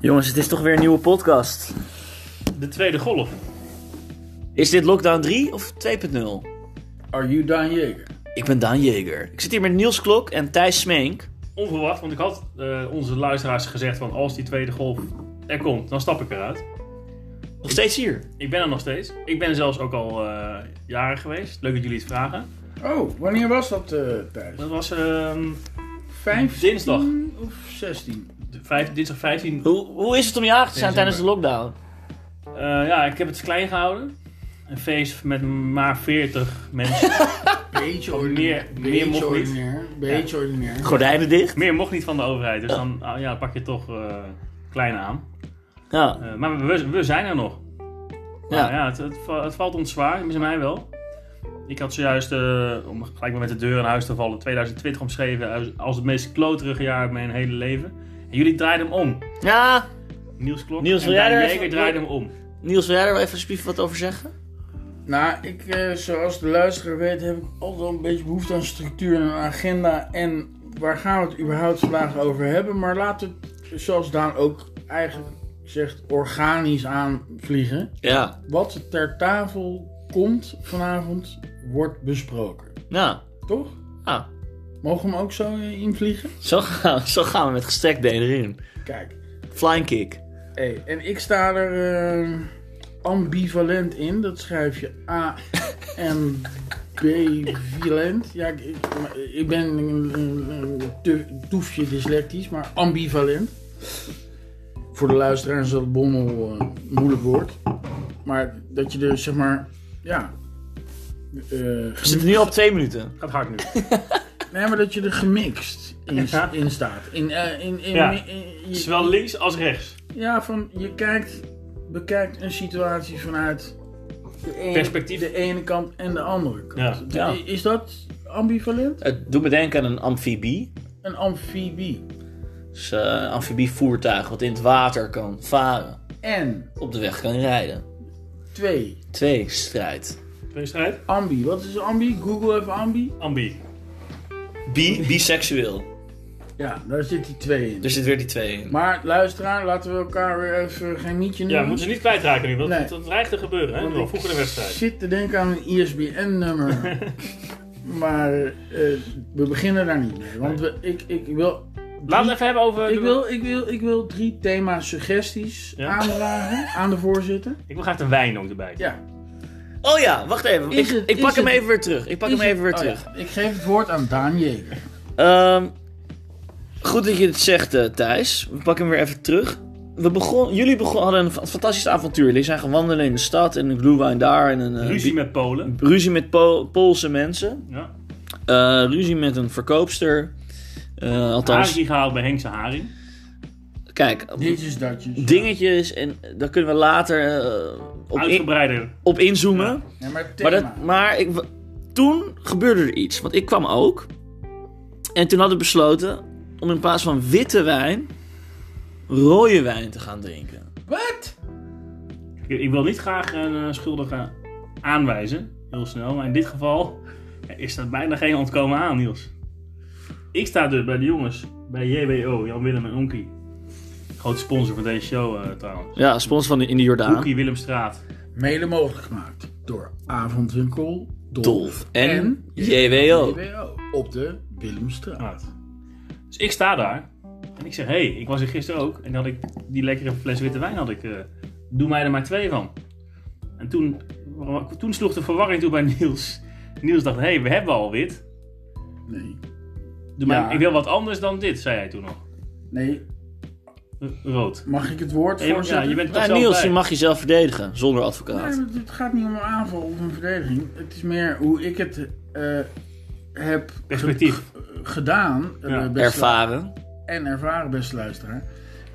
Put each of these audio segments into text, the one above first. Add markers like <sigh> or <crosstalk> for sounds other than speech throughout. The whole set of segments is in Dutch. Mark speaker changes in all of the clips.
Speaker 1: Jongens, het is toch weer een nieuwe podcast.
Speaker 2: De tweede golf.
Speaker 1: Is dit Lockdown 3 of 2.0?
Speaker 3: Are you Daan Jager?
Speaker 1: Ik ben Daan Jeger. Ik zit hier met Niels Klok en Thijs Smeenk.
Speaker 2: Onverwacht, want ik had eh, onze luisteraars gezegd van als die tweede golf er komt, dan stap ik eruit.
Speaker 1: Nog steeds hier.
Speaker 2: Ik ben er nog steeds. Ik ben zelfs ook al eh, jaren geweest. Leuk dat jullie het vragen.
Speaker 3: Oh, wanneer was dat eh Thijs?
Speaker 2: Dat was ehm,
Speaker 3: 15
Speaker 2: Dinsdag.
Speaker 3: of 16?
Speaker 2: de vijf- dinsdag 15.
Speaker 1: Hoe, hoe is het om jager te zijn
Speaker 2: December.
Speaker 1: tijdens de lockdown?
Speaker 2: Eh, ja, ik heb het klein gehouden. Een feest met maar 40 mensen.
Speaker 3: Beetje
Speaker 2: ordinair. meer
Speaker 3: Beetje
Speaker 2: mocht niet.
Speaker 3: ordinair. Beetje ordinair.
Speaker 1: Gordijnen dicht?
Speaker 2: Meer mocht niet van de overheid, dus dan ah, ja, pak je toch eh, klein aan.
Speaker 1: Ja.
Speaker 2: Eh, maar we, we zijn er nog.
Speaker 1: Ja.
Speaker 2: Ja, ja het, het, va- het valt ons zwaar, tenminste mij wel. Ik had zojuist, eh, om gelijk maar met de deur in huis te vallen, 2020 omschreven als, als het meest kloterige jaar uit mijn hele leven. En jullie draaiden hem om.
Speaker 1: ja.
Speaker 2: Niels Klok
Speaker 1: Niels,
Speaker 2: en
Speaker 1: wil jij
Speaker 2: Daan
Speaker 1: er
Speaker 2: Jeger
Speaker 1: even-
Speaker 2: draaiden hem om.
Speaker 1: Niels, wil jij er wel even alsjeblieft wat over zeggen?
Speaker 3: Nou, ik, eh, zoals de luisteraar weet, heb ik altijd wel een beetje behoefte aan structuur en een agenda. En waar gaan we het überhaupt vandaag over hebben? Maar laat het, zoals Daan ook eigenlijk zegt, organisch aanvliegen.
Speaker 1: Ja.
Speaker 3: Wat ter tafel komt vanavond, wordt besproken.
Speaker 1: Nou,
Speaker 3: Toch?
Speaker 1: ja.
Speaker 3: Mogen we hem ook zo eh, invliegen?
Speaker 1: Ah. Zo, gaan, zo gaan we met gestrekt been erin.
Speaker 3: Kijk.
Speaker 1: Flying kick.
Speaker 3: Hey, en ik sta er eh, ambivalent in. Dat schrijf je A en B valent. Ja, ik, ik, maar ik ben een, een- een te- toefje dyslectisch, maar ambivalent. Voor de luisteraar is dat bommel eh, een moeilijk woord. Maar dat je er zeg maar, ja. eh,
Speaker 1: We zitten nu op twee minuten.
Speaker 2: Gaat hard
Speaker 3: <laughs>
Speaker 2: nu.
Speaker 3: nee, maar dat je er gemixt in,
Speaker 2: Ja.
Speaker 3: in staat. In, eh, in, in,
Speaker 2: Ja.
Speaker 3: in- in- je-
Speaker 2: Zowel links als rechts.
Speaker 3: Ja, van je kijkt, bekijkt een situatie vanuit de ene,
Speaker 2: Perspectief.
Speaker 3: de ene kant en de andere kant.
Speaker 2: Ja.
Speaker 3: De-
Speaker 1: Ja.
Speaker 3: Is dat ambivalent?
Speaker 1: Het doet me denken aan een amfibie.
Speaker 3: Een amfibie.
Speaker 1: Dus eh, een amfibievoertuig wat in het water kan varen.
Speaker 3: En
Speaker 1: Op de weg kan rijden.
Speaker 3: twee.
Speaker 1: Twee strijd.
Speaker 2: Twee strijd.
Speaker 3: Ambi. Wat is ambi? Google even ambi.
Speaker 2: Ambi.
Speaker 1: Bi biseksueel.
Speaker 3: Ja, daar zit die twee in.
Speaker 2: Dus-
Speaker 1: Er zit weer die twee in.
Speaker 3: Maar luisteraar, laten we elkaar weer even geen nietje
Speaker 2: Ja,
Speaker 3: noemen.
Speaker 2: moeten ze niet kwijtraken nu, want
Speaker 3: Mhm. Nee.
Speaker 2: dat, dat dreigt te gebeuren. Hè?
Speaker 3: Want
Speaker 2: Wel
Speaker 3: ik
Speaker 2: Vroeger de wedstrijd.
Speaker 3: zit te denken aan een E
Speaker 2: <laughs>
Speaker 3: ISBN-nummer. maar eh, we beginnen daar niet mee. Want we, ik, ik wil
Speaker 2: Laten we het even hebben over...
Speaker 3: Ik wil, ik, wil, ik wil drie thema-suggesties
Speaker 2: Ja.
Speaker 3: aandragen aan de voorzitter.
Speaker 2: Ik wil graag de wijn ook erbij.
Speaker 3: Ja,
Speaker 1: Oh ja, wacht even.
Speaker 3: Is
Speaker 1: Ik,
Speaker 3: het-
Speaker 1: ik
Speaker 3: is
Speaker 1: pak hem
Speaker 3: het-
Speaker 1: even weer terug. Ik pak hem
Speaker 3: Is het-
Speaker 1: even weer
Speaker 3: oh
Speaker 1: terug.
Speaker 3: ja, Ik geef het woord aan Daan Jeger.
Speaker 1: Ehm, goed dat je het zegt, eh, Thijs. We pakken hem weer even terug. We begon, jullie begon, hadden een fa- fantastisch avontuur. Jullie zijn gaan wandelen in de stad en een glühwein daar. En een, eh,
Speaker 2: Ruzie
Speaker 1: bi-
Speaker 2: met Polen.
Speaker 1: ruzie met Pol- Poolse mensen.
Speaker 2: Ja.
Speaker 1: Eh, ruzie met een verkoopster. Eh, althans,
Speaker 3: Ah,
Speaker 2: Haring gehaald bij Henkse Haring.
Speaker 1: kijk,
Speaker 3: Ditjes, datjes.
Speaker 1: dingetjes. En daar kunnen we later eh, op, in-
Speaker 2: Uitgebreider.
Speaker 1: op inzoomen.
Speaker 3: Ja, maar thema.
Speaker 1: Maar, dat, maar ik, toen gebeurde er iets. Want ik kwam ook. En toen hadden we besloten om in plaats van witte wijn... rode wijn te gaan drinken.
Speaker 3: Wat?
Speaker 2: Ik, ik wil niet graag een eh, schuldige aanwijzen, heel snel. Maar in dit geval ja, is dat bijna geen ontkomen aan, Niels. Ik sta dus bij de jongens, bij JWO, Jan Willem en Onkie. Grote sponsor van deze show eh, trouwens.
Speaker 1: Ja, sponsor van de, in de Jordaan.
Speaker 2: Onkie Willemstraat.
Speaker 3: Mede mogelijk gemaakt door Avondwinkel, Dolf,
Speaker 1: Dolf en, JWO.
Speaker 3: JWO. Op de Willemstraat.
Speaker 2: Straat. Dus ik sta daar en ik zeg, hé, hey, ik was er gisteren ook. En had ik die lekkere fles witte wijn had ik, eh, doe mij er maar twee van. En toen, toen sloeg de verwarring toe bij <laughs> Niels. Niels dacht, hé, hey, we hebben al wit.
Speaker 3: Nee.
Speaker 2: Doe maar,
Speaker 3: Ja.
Speaker 2: ik wil wat anders dan dit, zei hij toen nog.
Speaker 3: Nee,
Speaker 2: R- Rood.
Speaker 3: mag ik het woord
Speaker 2: Ja, je- ja,
Speaker 3: voorzitter?
Speaker 2: je bent toch
Speaker 1: Ja,
Speaker 2: zelf
Speaker 1: Niels,
Speaker 2: bij.
Speaker 1: je mag jezelf verdedigen zonder advocaat.
Speaker 3: Nee, maar het gaat niet om een aanval of een verdediging. Het is meer hoe ik het eh, heb ge-
Speaker 2: Perspectief.
Speaker 3: g- gedaan. eh,
Speaker 2: Ja.
Speaker 3: beste-
Speaker 1: Ervaren.
Speaker 3: en ervaren, beste luisteraar,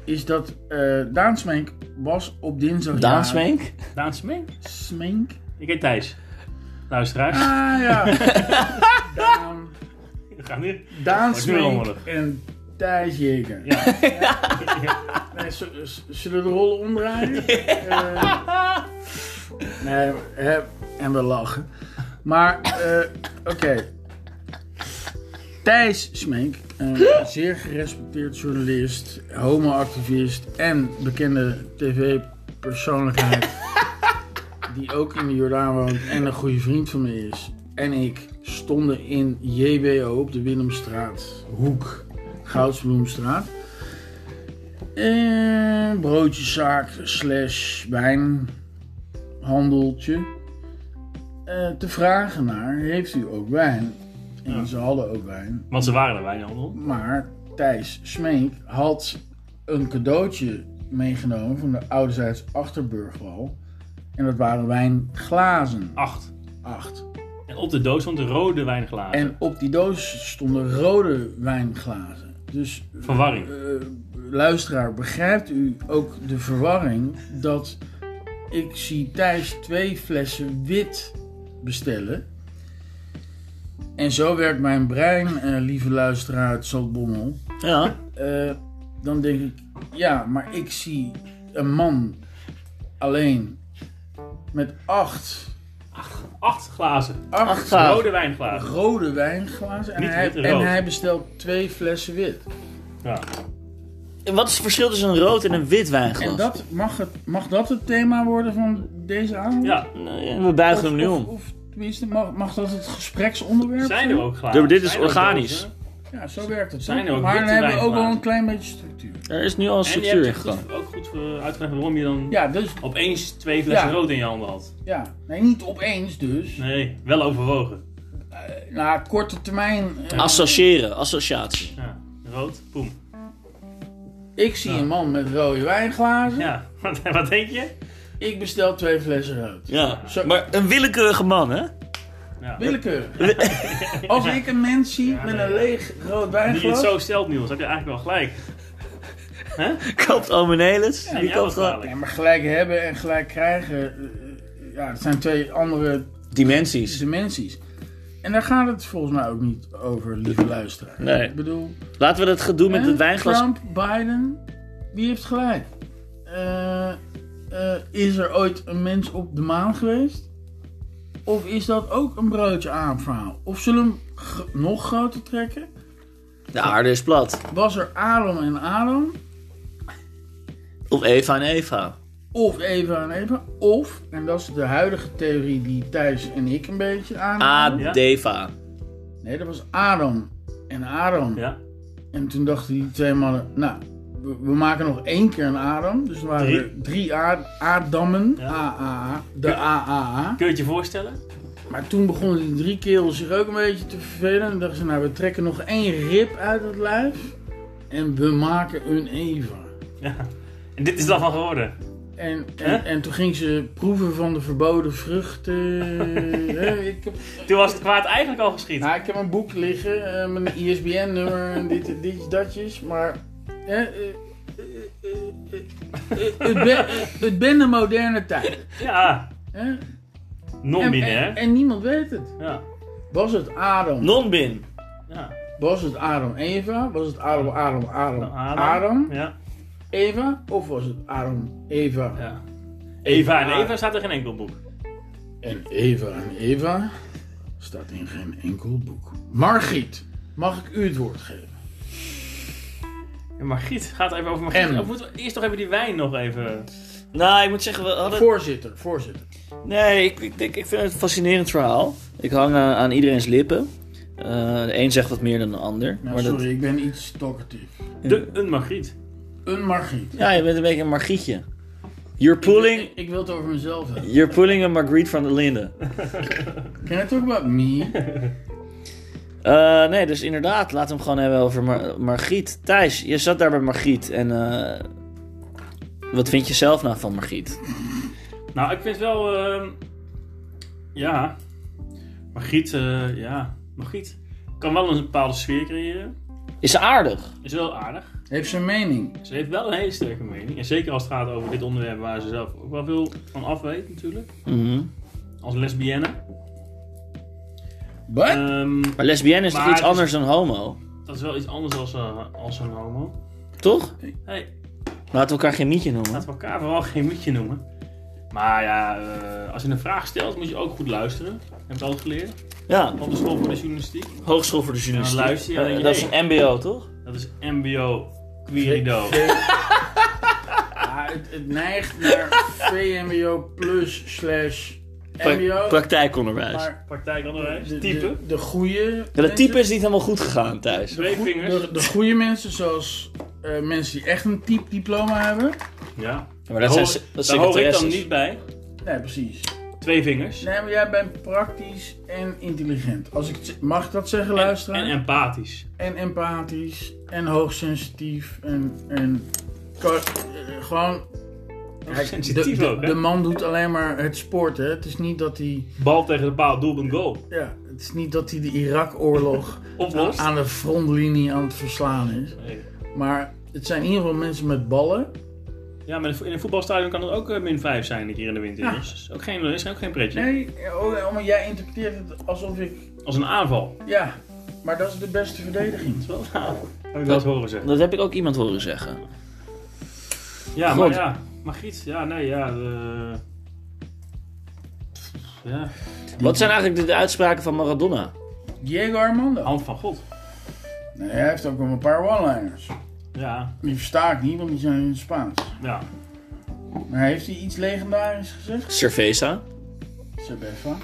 Speaker 3: is dat eh Daan Smenk was op dinsdag.
Speaker 1: Daan Smeenk?
Speaker 2: Daan Smeen.
Speaker 3: Smenk?
Speaker 2: Ik heet Thijs. Luisteraars. <laughs>
Speaker 3: Ah ja. Daan,
Speaker 2: We gaan nu.
Speaker 3: Daan
Speaker 2: Wordt nu
Speaker 3: Smenk
Speaker 2: rommelig.
Speaker 3: en Thijs Jeker.
Speaker 2: Ja.
Speaker 3: <laughs> Nee, z- z- zullen we de rollen omdraaien? Eh, nee, hè, en we lachen. Maar, eh, oké. Thijs Smenk Een zeer gerespecteerd journalist, homoactivist en bekende tv-persoonlijkheid. Die ook in de Jordaan woont en een goede vriend van me is. En ik stonden in JWO op de Willemstraat, hoek, Goudsbloemstraat. Eh, broodjeszaak slash wijnhandeltje. Eh, te vragen naar, heeft u ook wijn? En
Speaker 2: Ja.
Speaker 3: ze hadden ook wijn.
Speaker 2: Want ze waren er wijnhandel.
Speaker 3: Maar Thijs Smeek had een cadeautje meegenomen van de ouderzijds Achterburgwal. En dat waren wijnglazen.
Speaker 2: Acht.
Speaker 3: Acht.
Speaker 2: En op de doos stond een rode wijnglazen.
Speaker 3: En op die doos stonden rode wijnglazen. Dus
Speaker 2: Verwarring.
Speaker 3: eh, luisteraar, begrijpt u ook de verwarring dat ik zie Thijs twee flessen wit bestellen? En zo werkt mijn brein, eh, lieve luisteraar uit Zaltbommel.
Speaker 1: Ja.
Speaker 3: Eh, dan denk ik, ja, maar ik zie een man alleen met acht,
Speaker 2: Acht glazen.
Speaker 3: acht,
Speaker 1: Acht glazen.
Speaker 2: Rode wijnglazen.
Speaker 3: rode wijnglazen en
Speaker 2: Niet
Speaker 3: hij,
Speaker 2: wit, rood.
Speaker 3: en hij bestelt twee flessen wit.
Speaker 2: Ja.
Speaker 1: En wat is het verschil tussen een rood en een wit
Speaker 3: En
Speaker 1: wijnglas?
Speaker 3: dat, mag, het, mag dat het thema worden van deze avond?
Speaker 2: ja.
Speaker 1: Nou ja, we buigen hem nu
Speaker 3: of,
Speaker 1: om.
Speaker 3: Of tenminste, mag, mag dat het gespreksonderwerp
Speaker 2: Zijn er ook glazen?
Speaker 1: Ja, maar dit is
Speaker 2: Zijn er ook
Speaker 1: organisch.
Speaker 2: dozen?
Speaker 3: Ja, zo werkt het.
Speaker 2: Zijn er ook
Speaker 3: maar dan
Speaker 2: witte
Speaker 3: hebben we ook wel
Speaker 2: wijnglazen?
Speaker 3: een klein beetje structuur.
Speaker 1: Er is nu al een
Speaker 2: En je
Speaker 1: structuur in
Speaker 2: hebt
Speaker 1: gekomen.
Speaker 2: goed, ook goed eh, uitgelegd waarom je dan
Speaker 3: Ja, dus,
Speaker 2: opeens twee flessen
Speaker 3: Ja.
Speaker 2: rood in je handen had.
Speaker 3: ja. Nee, niet opeens dus.
Speaker 2: Nee, wel overwogen.
Speaker 3: Na korte termijn... eh,
Speaker 1: Associëren, associatie.
Speaker 2: Ja. Rood, poem.
Speaker 3: Ik zie
Speaker 2: Ja.
Speaker 3: een man met rode wijnglazen.
Speaker 2: Ja, <laughs> wat, wat denk je?
Speaker 3: Ik bestel twee flessen rood.
Speaker 1: Ja.
Speaker 3: Zo-
Speaker 1: Maar een willekeurige man, hè?
Speaker 2: Ja. <laughs>
Speaker 3: Willekeurig. Als ik een mens zie
Speaker 2: Ja,
Speaker 3: met
Speaker 2: nee.
Speaker 3: een leeg rood
Speaker 2: Die het
Speaker 3: wijnglas...
Speaker 2: zo stelt, Niels, heb je eigenlijk wel gelijk.
Speaker 1: Koopt Omenelis.
Speaker 2: Ja,
Speaker 1: die
Speaker 2: jou
Speaker 1: koopt
Speaker 2: wel
Speaker 1: gewoon...
Speaker 2: gelijk.
Speaker 3: Ja, maar gelijk hebben en gelijk krijgen... eh, eh, Ja, het zijn twee andere
Speaker 1: Dimensies.
Speaker 3: dimensies. En daar gaat het volgens mij ook niet over, lieve luisteraar.
Speaker 1: Nee.
Speaker 3: Ik bedoel...
Speaker 1: Laten we dat gedoe met
Speaker 3: hè,
Speaker 1: het wijnglas...
Speaker 3: Trump, Biden, wie heeft gelijk? Eh, eh, is er ooit een mens op de maan geweest? Of is dat ook een broodje aapverhaal? Of zullen we hem gr- nog groter trekken?
Speaker 1: De aarde is plat.
Speaker 3: Was er Adam en Adam?
Speaker 1: Of Eva en Eva.
Speaker 3: Of Eva en Eva? Of, en dat is de huidige theorie die Thijs en ik een beetje aan.
Speaker 1: Adeva.
Speaker 3: Nee, dat was Adam en Adam.
Speaker 2: Ja.
Speaker 3: En toen dachten die twee mannen, nou, we, we maken nog één keer een Adam. Dus er waren
Speaker 2: Drie.
Speaker 3: er drie A- Adammen.
Speaker 2: Ja.
Speaker 3: AAA. De AAA.
Speaker 2: Kun je het je voorstellen?
Speaker 3: Maar toen begonnen die drie kerels zich ook een beetje te vervelen. En dachten ze, nou, we trekken nog één rib uit het lijf. En we maken een Eva.
Speaker 2: Ja. En dit is dan van geworden.
Speaker 3: En,
Speaker 2: Hè?
Speaker 3: en, en toen ging ze proeven van de verboden vruchten.
Speaker 2: <laughs>
Speaker 3: Hè, ik, heb,
Speaker 2: Toen was het kwaad eigenlijk al geschied.
Speaker 3: nou, ik heb een boek liggen, eh, met mijn ISBN-nummer en dit, en dit, datjes. Maar hè, eh, eh, eh, eh, eh, het ben- eh, het ben de moderne tijd.
Speaker 2: Ja,
Speaker 3: hè. En- En, en,
Speaker 2: non-binair.
Speaker 3: en niemand weet het.
Speaker 2: Ja.
Speaker 3: Was het Adam?
Speaker 1: Non-bin.
Speaker 2: Ja.
Speaker 3: Was het Adam Eva? Was het Adam, Adam, Adam,
Speaker 2: Nou,
Speaker 3: Adam,
Speaker 2: Ja.
Speaker 3: Eva? Of was het Adam, Eva
Speaker 2: ja. Eva en
Speaker 3: Eva.
Speaker 2: Eva staat er geen enkel boek.
Speaker 3: En Eva en Eva staat in geen enkel boek. Margriet, mag ik u het woord geven?
Speaker 2: En Margriet gaat even over Margriet.
Speaker 3: En-
Speaker 2: Of moeten we eerst toch even die wijn nog even...
Speaker 1: Nou, ik moet zeggen, we hadden...
Speaker 3: Voorzitter, voorzitter.
Speaker 1: Nee, ik, ik, denk- ik vind het een fascinerend verhaal. Ik hang eh, aan iedereen's lippen. Eh, de een zegt wat meer dan de ander.
Speaker 3: Nou,
Speaker 1: maar dat-
Speaker 3: sorry, ik ben iets talkatief.
Speaker 2: De, een Margriet.
Speaker 3: Een Margriet.
Speaker 1: Ja, je bent een beetje een margrietje. You're pulling,
Speaker 3: Ik, ik wil het over mezelf hebben.
Speaker 1: you're pulling a Margriet van de Linden.
Speaker 3: Can I talk about me?
Speaker 1: Eh, nee, dus inderdaad, laten we hem gewoon hebben over Mar- Margriet. Thijs, je zat daar bij Margriet en eh, wat vind je zelf nou van Margriet?
Speaker 2: Nou, ik vind wel... ehm, ja. Margriet, eh, ja. Margriet kan wel een bepaalde sfeer creëren.
Speaker 1: Is ze aardig?
Speaker 2: Is wel aardig.
Speaker 3: Heeft zijn mening.
Speaker 2: Ze heeft wel een hele sterke mening. En zeker als het gaat over dit onderwerp waar ze zelf ook wel veel van af weet natuurlijk.
Speaker 1: Mhm.
Speaker 2: Als lesbienne.
Speaker 3: Wat?
Speaker 1: Eh.
Speaker 2: Ehm,
Speaker 1: Maar lesbienne is
Speaker 2: Maar
Speaker 1: toch iets
Speaker 2: het is-
Speaker 1: anders dan homo?
Speaker 2: dat is wel iets anders als, eh, als een homo.
Speaker 1: Toch?
Speaker 2: Hey,
Speaker 1: Laten we elkaar geen mietje noemen.
Speaker 2: <laughs> laten we elkaar vooral geen mietje noemen. Maar ja, eh, als je een vraag stelt, moet je ook goed luisteren. Heb ik altijd geleerd.
Speaker 1: Ja,
Speaker 2: Op de school voor de journalistiek.
Speaker 1: hogeschool voor de journalistiek.
Speaker 2: Ja, luister je,
Speaker 1: Eh,
Speaker 2: dan denk je,
Speaker 1: dat is een mbo, toch?
Speaker 2: Dat is MBO Querido.
Speaker 3: Ah, het, het neigt naar VMBO plus slash
Speaker 1: Pra-
Speaker 3: MBO.
Speaker 1: praktijkonderwijs.
Speaker 3: maar
Speaker 2: Praktijkonderwijs.
Speaker 3: de,
Speaker 2: Type.
Speaker 3: de, de goede
Speaker 1: Ja, dat type
Speaker 3: mensen-
Speaker 1: is niet helemaal goed gegaan thuis.
Speaker 2: Twee
Speaker 3: goe-
Speaker 2: vingers.
Speaker 3: de, de goede mensen, zoals eh, mensen die echt een type diploma hebben.
Speaker 2: Ja.
Speaker 1: maar dat
Speaker 2: Daar
Speaker 1: zijn
Speaker 2: hoor-
Speaker 1: se- dat
Speaker 2: Daar hoor ik dan
Speaker 1: secretaresses.
Speaker 2: niet bij.
Speaker 3: Nee, precies.
Speaker 2: Twee vingers.
Speaker 3: Nee, maar jij bent praktisch en intelligent. Als ik het, z- mag ik dat zeggen,
Speaker 2: En,
Speaker 3: luisteren?
Speaker 2: en empathisch.
Speaker 3: en empathisch en hoogsensitief en, en ka- eh, gewoon Kijk,
Speaker 2: Sensitief
Speaker 3: de, de-
Speaker 2: ook, hè?
Speaker 3: de man doet alleen maar het sport hè. Het is niet dat hij
Speaker 2: Bal tegen de paal, doelpunt, goal.
Speaker 3: ja, het is niet dat hij de Irak-oorlog <laughs>
Speaker 2: Oplost.
Speaker 3: aan de frontlinie aan het verslaan is.
Speaker 2: Nee.
Speaker 3: Maar het zijn in ieder geval mensen met ballen.
Speaker 2: Ja, maar in een vo- in een voetbalstadion kan het ook eh, min 5 zijn dit hier in de winter.
Speaker 3: Ja.
Speaker 2: jongens. Dat is ook geen, dat is ook geen pretje.
Speaker 3: Nee, oh, oh, maar jij interpreteert het alsof ik
Speaker 2: Als een aanval.
Speaker 3: ja, maar dat is de beste verdediging.
Speaker 2: Dat is wel een Heb ik wel eens horen zeggen.
Speaker 1: Dat heb ik ook iemand horen zeggen.
Speaker 2: Ja, maar
Speaker 1: Goed.
Speaker 2: ja. Maar Giet, ja, nee, ja. eh, ja.
Speaker 1: Wat zijn eigenlijk de, de uitspraken van Maradona?
Speaker 3: Diego Armando.
Speaker 2: Hand van God.
Speaker 3: Nee, hij heeft ook wel een paar one-liners.
Speaker 2: Ja,
Speaker 3: Die versta ik niet, want die zijn in het Spaans.
Speaker 2: ja.
Speaker 3: Maar heeft hij iets legendarisch gezegd?
Speaker 1: Cerveza?
Speaker 3: Sebeffa?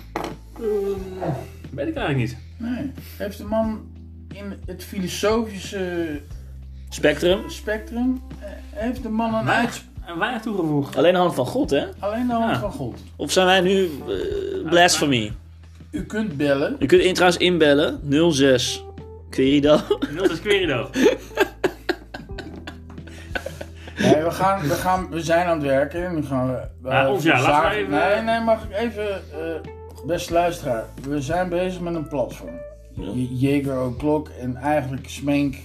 Speaker 2: Weet ik eigenlijk niet.
Speaker 3: Nee. Heeft de man in het filosofische
Speaker 1: Spectrum?
Speaker 3: spectrum... eh, heeft de man een
Speaker 2: Weinig,
Speaker 3: uits...
Speaker 2: en weinig toegevoegd.
Speaker 1: Alleen de hand van God, hè?
Speaker 3: Alleen de hand
Speaker 2: Ja.
Speaker 3: van God.
Speaker 1: Of zijn wij nu eh blasphemy?
Speaker 3: U kunt bellen.
Speaker 1: Je kunt in trouwens inbellen. 06 Querido.
Speaker 2: <laughs> Nul is Querido.
Speaker 3: Nee, we, gaan, we, gaan, we zijn aan het werken. en Nu gaan we... we
Speaker 2: Maar ons jaar, laten we
Speaker 3: verzagen-
Speaker 2: even-
Speaker 3: Nee, nee, mag ik even... eh, beste luisteraar. We zijn bezig met een platform.
Speaker 1: Ja.
Speaker 3: Je- Jager O'Clock en eigenlijk Smenk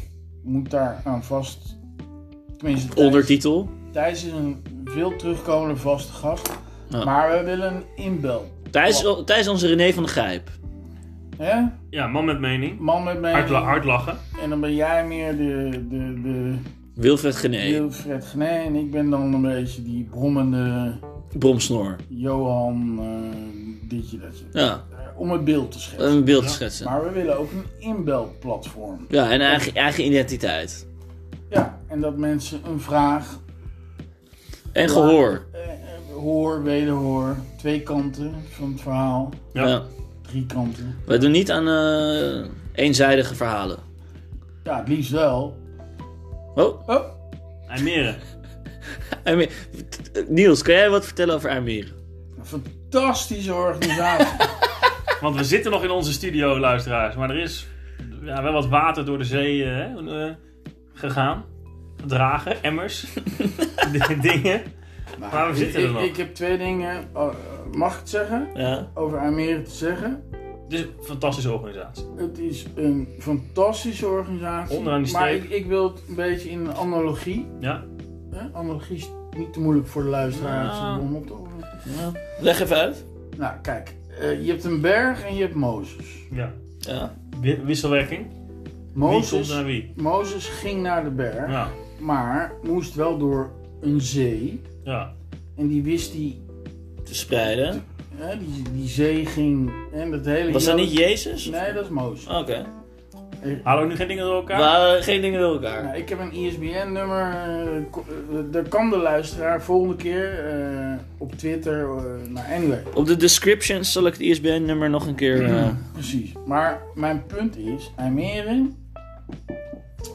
Speaker 3: moet daar aan vast... Tenminste, Thijs-
Speaker 1: Ondertitel.
Speaker 3: Thijs is een veel terugkomende vaste gast.
Speaker 1: Ja.
Speaker 3: Maar we willen een inbel.
Speaker 1: Thijs, Thijs onze René van de Gijp.
Speaker 3: Hè?
Speaker 2: Ja, man met mening.
Speaker 3: Man met mij.
Speaker 2: Hard, la- hard lachen.
Speaker 3: En dan ben jij meer de, de, de
Speaker 1: Wilfred Gené.
Speaker 3: Wilfred Gené. En ik ben dan een beetje die brommende
Speaker 1: Bromsnor.
Speaker 3: Johan eh, ditje datje.
Speaker 1: Ja,
Speaker 3: Eh, Om het beeld te schetsen.
Speaker 1: een beeld te schetsen.
Speaker 3: Maar we willen ook een inbelplatform.
Speaker 1: Ja, en eigen, eigen identiteit.
Speaker 3: Ja, en dat mensen een vraag
Speaker 1: En gehoor.
Speaker 3: eh, eh, hoor, wederhoor, twee kanten van het verhaal,
Speaker 2: Ja.
Speaker 1: Ja.
Speaker 3: drie kanten.
Speaker 1: Wij doen niet aan eh, eenzijdige verhalen.
Speaker 3: Ja, het liefst wel.
Speaker 1: Oh,
Speaker 3: Oh,
Speaker 2: Almere.
Speaker 1: Almere. Niels, kan jij wat vertellen over Almere?
Speaker 3: een fantastische
Speaker 2: <laughs>
Speaker 3: organisatie.
Speaker 2: Want we zitten nog in onze studio, luisteraars. Maar er is ja, wel wat water door de zee eh, hè, eh, gegaan. Gedragen,
Speaker 3: <laughs>
Speaker 2: emmers, d- dingen. Maar we zitten
Speaker 3: Nou, ik,
Speaker 2: er nog.
Speaker 3: Ik, ik heb twee dingen, oh, eh, mag ik het zeggen?
Speaker 1: Ja.
Speaker 3: over Almere te zeggen.
Speaker 2: Het is een Dus fantastische organisatie.
Speaker 3: Het is een fantastische organisatie.
Speaker 2: Onderaan die
Speaker 3: maar
Speaker 2: streep.
Speaker 3: ik, ik wil het een beetje in een analogie.
Speaker 2: Ja,
Speaker 3: Hè? Analogie is niet te moeilijk voor de luisteraars
Speaker 2: Nou.
Speaker 3: om op te horen.
Speaker 1: Leg even uit.
Speaker 3: Nou, kijk. eh, je hebt een berg en je hebt Mozes.
Speaker 2: ja.
Speaker 1: Ja.
Speaker 2: Wi- wisselwerking. Wie komt
Speaker 3: Mozes,
Speaker 2: naar wie?
Speaker 3: Mozes ging naar de berg,
Speaker 2: Ja,
Speaker 3: maar moest wel door een zee.
Speaker 2: ja.
Speaker 3: En die wist die,
Speaker 1: Te spreiden.
Speaker 3: hè, die, die zee ging... En dat hele
Speaker 1: Was dat
Speaker 3: Jod-
Speaker 1: niet Jezus?
Speaker 3: Nee, dat is Mozes.
Speaker 1: Oké.
Speaker 2: Halen we nu geen dingen door elkaar?
Speaker 1: Maar geen dingen door elkaar.
Speaker 3: Nou, ik heb een ISBN-nummer. eh, ko- eh, Daar kan de luisteraar volgende keer eh, op Twitter. eh, nou, anyway,
Speaker 1: Op de description zal ik het ISBN-nummer nog een keer... eh,
Speaker 3: precies. Maar mijn punt is: IJmere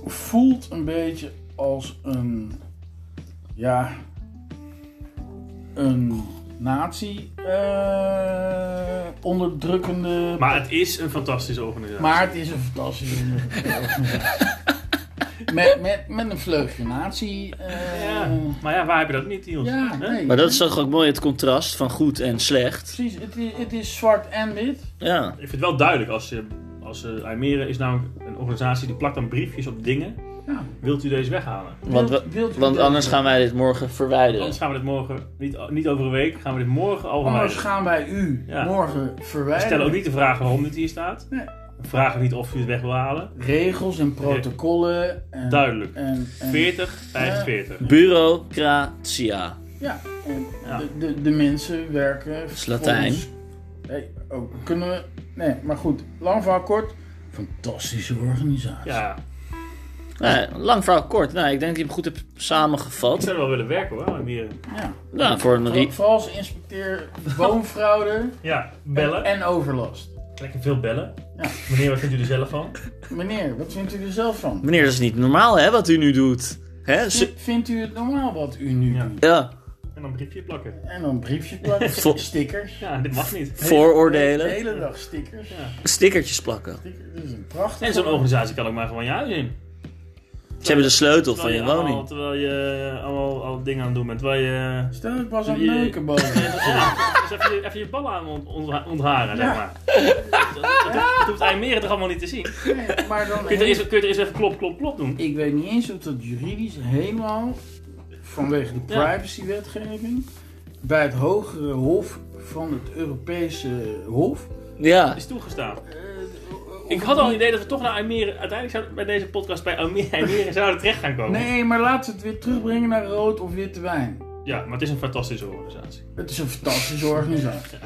Speaker 3: voelt een beetje als een. Ja. Een eh, nazi-onderdrukkende.
Speaker 2: Maar het is een fantastische organisatie.
Speaker 3: maar het is een fantastische.
Speaker 2: <laughs>
Speaker 3: met, met, met een vleugje nazi. eh,
Speaker 2: ja. maar ja, waar heb je dat niet, Niels?
Speaker 3: Ja,
Speaker 2: Hè?
Speaker 3: nee.
Speaker 1: Maar dat is toch ook mooi, het contrast van goed en slecht.
Speaker 3: Precies, het is, het is zwart en wit.
Speaker 1: Ja.
Speaker 2: Ik vind het wel duidelijk als, eh, als eh, Almere is namelijk een organisatie die plakt dan briefjes op dingen.
Speaker 3: Ja.
Speaker 2: Wilt u deze weghalen?
Speaker 1: Want, we-
Speaker 3: Wilt- wilt u
Speaker 1: want
Speaker 3: dit-
Speaker 1: anders gaan wij dit morgen verwijderen.
Speaker 2: Anders gaan we dit morgen, niet, niet over een week, gaan we dit morgen al
Speaker 3: Anders
Speaker 2: verwijderen.
Speaker 3: Oh, gaan wij u
Speaker 2: Ja.
Speaker 3: morgen
Speaker 2: We
Speaker 3: verwijderen.
Speaker 2: stellen ook niet de vraag waarom dit hier staat.
Speaker 3: Nee.
Speaker 2: We vragen niet of u het weg wil halen.
Speaker 3: Regels en protocollen. En, Eh.
Speaker 2: Duidelijk.
Speaker 3: En, en,
Speaker 2: 40, 45.
Speaker 1: Bureaucratia.
Speaker 3: Ja, en
Speaker 2: Ja.
Speaker 3: De, de, de mensen werken.
Speaker 1: is Latijn.
Speaker 3: volgens- Nee, ook kunnen we. Nee, maar goed, lang verhaal kort. Fantastische organisatie.
Speaker 2: Ja,
Speaker 1: Nou, lang verhaal kort. Nou, ik denk dat je hem goed hebt
Speaker 2: ik
Speaker 1: samengevat.
Speaker 2: zou er wel willen werken hoor, in Mieren.
Speaker 3: Ja.
Speaker 1: Nou, voor een...
Speaker 3: Vooral-
Speaker 1: re-
Speaker 3: Vooral als inspecteer woonfraude
Speaker 2: Ja, bellen.
Speaker 3: en overlast.
Speaker 2: Lekker veel bellen.
Speaker 3: Ja.
Speaker 2: Meneer, wat vindt u er zelf van?
Speaker 3: Meneer, wat vindt u er zelf van?
Speaker 1: Meneer, dat is niet normaal, hè, wat u nu doet. Hè? ze-
Speaker 3: Vindt u het normaal wat u nu
Speaker 2: Ja.
Speaker 3: doet?
Speaker 1: Ja,
Speaker 2: En dan een briefje plakken.
Speaker 3: En dan briefjes
Speaker 2: <laughs>
Speaker 3: plakken,
Speaker 1: Vol-
Speaker 3: stickers.
Speaker 2: Ja, dit mag niet.
Speaker 3: De
Speaker 1: vooroordelen.
Speaker 3: hele dag stickers.
Speaker 2: Ja.
Speaker 1: Stickertjes plakken.
Speaker 3: Stickers, Dit is een prachtig.
Speaker 2: En zo'n organisatie kan ook maar gewoon je huis in.
Speaker 1: Ze hebben de sleutel van
Speaker 2: Terwijl
Speaker 1: je
Speaker 2: allemaal-
Speaker 1: woning.
Speaker 2: Terwijl je allemaal al dingen aan het doen bent. Terwijl je...
Speaker 3: Stel, ik was aan het
Speaker 2: Die- <laughs>
Speaker 3: neuken boven.
Speaker 2: Dus even, je, even je ballen aan ont- ont- ontharen,
Speaker 3: Ja.
Speaker 2: zeg maar. Dat, dat, dat hoeft IJmeren toch allemaal niet te zien? Kun
Speaker 3: Nee, maar dan
Speaker 2: je er eerst, kun je er eerst even klop, klop, klop doen?
Speaker 3: Ik weet niet eens of dat juridisch helemaal vanwege de
Speaker 2: Ja.
Speaker 3: privacywetgeving bij het hogere hof van het Europese Hof.
Speaker 1: Ja,
Speaker 2: Is toegestaan.
Speaker 3: eh,
Speaker 2: Ik
Speaker 3: of-
Speaker 2: had al een idee dat we toch naar IJmeren... Uiteindelijk zouden we bij deze podcast bij IJmeren, IJmeren zouden terecht gaan komen.
Speaker 3: Nee, maar laten we het weer terugbrengen naar rood of witte wijn.
Speaker 2: Ja, maar het is een fantastische organisatie.
Speaker 3: Het is een fantastische
Speaker 2: <laughs>
Speaker 3: organisatie.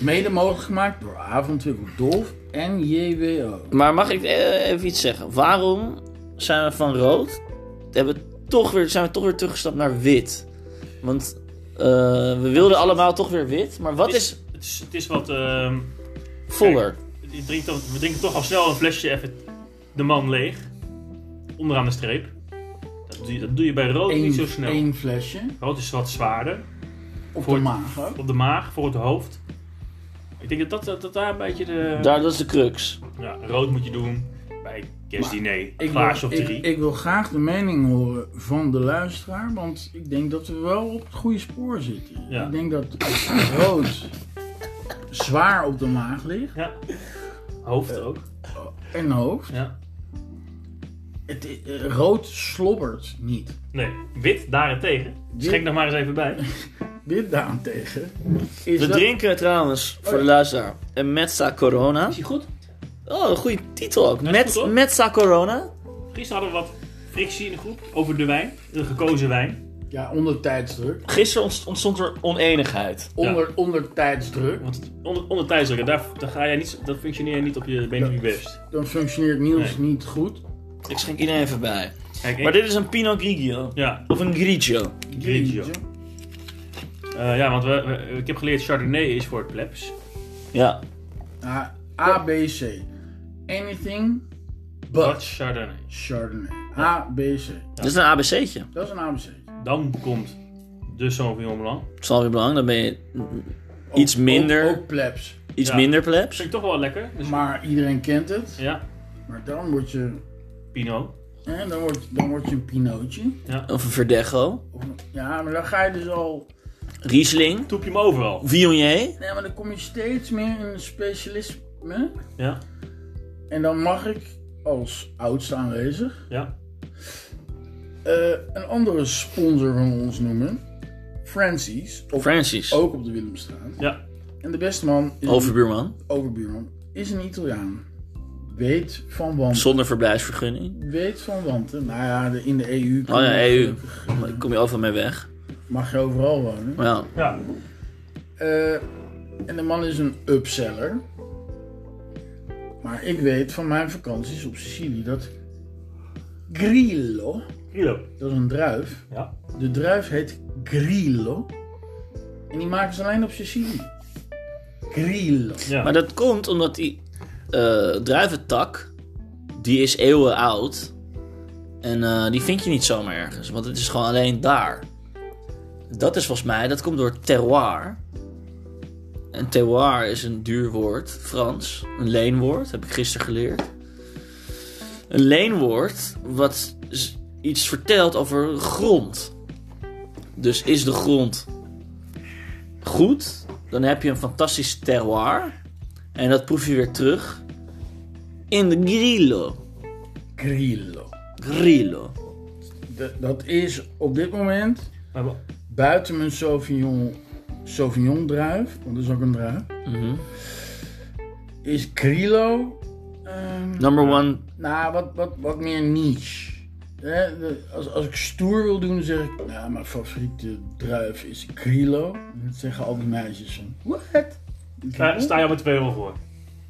Speaker 3: Mede mogelijk gemaakt door Avondwinkel Dolf en JWO.
Speaker 1: maar mag ik eh, even iets zeggen? Waarom zijn we van rood, hebben we toch weer, zijn we toch weer teruggestapt naar wit? Want eh, we wilden allemaal toch weer wit, maar wat
Speaker 2: Het
Speaker 1: is
Speaker 2: Het is, het is wat... ehm,
Speaker 1: voller?
Speaker 2: je drinkt toch- we drinken toch al snel een flesje even de man leeg. Onderaan de streep. Dat doe je, dat doe je bij rood niet zo snel.
Speaker 3: Eén flesje
Speaker 2: Rood is wat zwaarder.
Speaker 3: op
Speaker 2: Voor-
Speaker 3: de maag ook.
Speaker 2: Op de maag, voor het hoofd. Ik denk dat, dat, dat, dat daar een beetje de...
Speaker 1: Daar, dat is de crux.
Speaker 2: Ja, rood moet je doen bij kerstdiner. Een
Speaker 3: Ik
Speaker 2: glaasje
Speaker 3: wil,
Speaker 2: of
Speaker 3: ik,
Speaker 2: drie.
Speaker 3: ik wil graag de mening horen van de luisteraar, want ik denk dat we wel op het goede spoor zitten.
Speaker 2: Ja.
Speaker 3: Ik denk dat rood zwaar op de maag ligt
Speaker 2: Ja. Hoofd ook.
Speaker 3: en hoofd.
Speaker 2: Ja.
Speaker 3: Het, i- eh, rood slobbert niet.
Speaker 2: Nee, wit daarentegen. Schenk nog maar eens even bij.
Speaker 3: Dit daarentegen is
Speaker 1: We
Speaker 3: dat-
Speaker 1: drinken trouwens, voor de
Speaker 3: ja.
Speaker 1: luisteraar, een Metza Corona.
Speaker 2: Is hij goed?
Speaker 1: Oh, een goede titel ook.
Speaker 2: Dat is goed,
Speaker 1: Met,
Speaker 2: hoor.
Speaker 1: Metza Corona.
Speaker 2: Gisteren hadden we wat frictie in de groep over de wijn. De gekozen wijn.
Speaker 3: ja, onder tijdsdruk.
Speaker 1: Gisteren ont- ontstond er oneenigheid.
Speaker 3: Onder, onder tijdsdruk.
Speaker 2: Want het- onder, onder tijdsdruk, daar, daar ga jij niet, dat functioneer je niet op je benen op je best.
Speaker 3: Dan functioneert Niels niet goed.
Speaker 1: Ik schenk iedereen even bij.
Speaker 2: Kijk, ik-
Speaker 1: Maar dit is een Pinot Grigio.
Speaker 2: Ja,
Speaker 1: Of een Grigio.
Speaker 2: Grigio. Eh, ja, want we, we- ik heb geleerd Chardonnay is voor het plebs.
Speaker 1: Ja.
Speaker 3: Ah, A, B, C. Anything but
Speaker 2: Chardonnay.
Speaker 3: Chardonnay. A, B, C.
Speaker 1: Dit is een ABC'tje.
Speaker 3: Dat is een ABC.
Speaker 2: Dan komt de Sauvignon Blanc.
Speaker 1: Dat is alweer belangrijk. Dan ben je iets minder,
Speaker 3: Ook, ook plebs.
Speaker 1: iets
Speaker 2: ja.
Speaker 1: minder plebs.
Speaker 2: Vind ik toch wel lekker. Dus,
Speaker 3: Maar iedereen kent het.
Speaker 2: ja,
Speaker 3: Maar dan word je,
Speaker 2: Pinot.
Speaker 3: hè, dan word, dan word je een pinootje.
Speaker 1: Of een Verdecho.
Speaker 3: Of een- ja, maar dan ga je dus al...
Speaker 1: Riesling.
Speaker 2: Toep je hem overal.
Speaker 1: Viognier.
Speaker 3: Nee, maar dan kom je steeds meer in een specialisme.
Speaker 2: Ja,
Speaker 3: En dan mag ik als oudste aanwezig
Speaker 2: ja.
Speaker 3: eh, een andere sponsor van ons noemen. Francis. Of Oh.
Speaker 1: Francis.
Speaker 3: ook op de Willemstraat.
Speaker 2: Ja.
Speaker 3: En de beste man is
Speaker 1: Overbuurman.
Speaker 3: Een, overbuurman is een Italiaan. Weet van wanten.
Speaker 1: Zonder verblijfsvergunning.
Speaker 3: Weet van wanten. Nou ja, de- in de EU.
Speaker 1: Oh ja, EU. Daar kom je overal mee weg.
Speaker 3: Mag je overal wonen.
Speaker 1: Maar ja.
Speaker 2: Ja.
Speaker 3: Eh, en de man is een upseller. Maar ik weet van mijn vakanties op Sicilië dat Grillo,
Speaker 2: Kilo.
Speaker 3: dat is een druif.
Speaker 2: Ja.
Speaker 3: De druif heet Grillo. En die maken ze alleen op Sicilië. Grillo.
Speaker 2: ja.
Speaker 1: Maar dat komt omdat die eh, druiventak, die is eeuwen oud. En eh, die vind je niet zomaar ergens, want het is gewoon alleen daar. Dat is volgens mij, dat komt door terroir. En terroir is een duur woord, Frans. Een leenwoord, heb ik gisteren geleerd. Een leenwoord wat z- iets vertelt over grond. Dus is de grond goed, dan heb je een fantastisch terroir. En dat proef je weer terug in de grillo.
Speaker 3: Grillo.
Speaker 1: Grillo.
Speaker 3: D- dat is op dit moment
Speaker 2: Maar wa-
Speaker 3: buiten mijn Sauvignon, Sauvignon druif, want dat is ook een druif,
Speaker 1: Mhm.
Speaker 3: is Grillo. ehm,
Speaker 1: Number one.
Speaker 3: Nou, wat, wat, wat meer niche. Hè, de- als, als ik stoer wil doen, zeg ik, nou, mijn favoriete druif is Grilo. En dat zeggen al die meisjes van, what?
Speaker 2: Sta, Eh, sta je met 2 euro voor?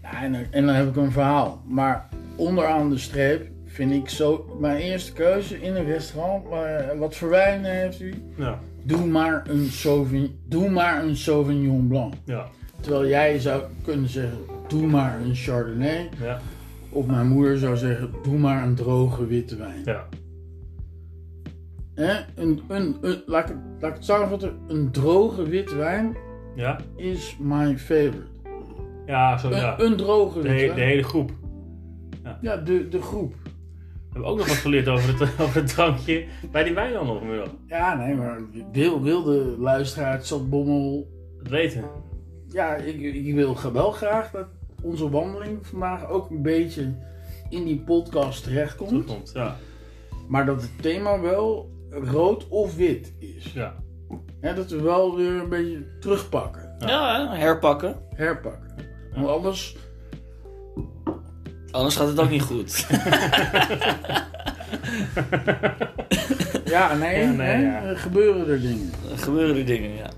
Speaker 3: Ja, en, dan, en dan heb ik een verhaal. Maar onderaan de streep vind ik zo mijn eerste keuze in een restaurant. Maar wat voor wijn heeft u?
Speaker 2: Ja.
Speaker 3: Doe maar een Sauvignon, doe maar een Sauvignon Blanc.
Speaker 2: Ja.
Speaker 3: Terwijl jij zou kunnen zeggen, doe maar een Chardonnay.
Speaker 2: Ja.
Speaker 3: Of mijn moeder zou zeggen, doe maar een droge witte wijn.
Speaker 2: Ja.
Speaker 3: Hè? Een, een, een, laat, ik, het- laat ik het samenvatten. Een droge witte wijn
Speaker 2: Ja.
Speaker 3: is my favorite.
Speaker 2: Ja, zo
Speaker 3: Een,
Speaker 2: ja.
Speaker 3: een droge
Speaker 2: De,
Speaker 3: witte
Speaker 2: he-
Speaker 3: wijn.
Speaker 2: de hele groep.
Speaker 3: Ja, de, de groep.
Speaker 2: We hebben ook nog wat geleerd over het, <laughs> over het drankje. Bij die wijn dan nog, Murdo.
Speaker 3: Ja, nee, maar wil, wil de luisteraar zat bommel.
Speaker 2: Dat weten.
Speaker 3: Ja, ik, ik wil ge- wel graag dat onze wandeling vandaag ook een beetje in die podcast
Speaker 2: Goed
Speaker 3: terechtkomt.
Speaker 2: komt. Ja.
Speaker 3: Maar dat het thema wel rood of wit is.
Speaker 2: Ja.
Speaker 3: Hè, dat we wel weer een beetje terugpakken,
Speaker 1: Ja, hè, herpakken.
Speaker 3: herpakken. Want anders,
Speaker 1: Anders gaat het ook niet <laughs> goed.
Speaker 3: ja,
Speaker 2: <laughs>
Speaker 3: nee,
Speaker 2: Ja, nee,
Speaker 3: hè,
Speaker 2: ja.
Speaker 3: er gebeuren er dingen.
Speaker 1: Er gebeuren er dingen, ja.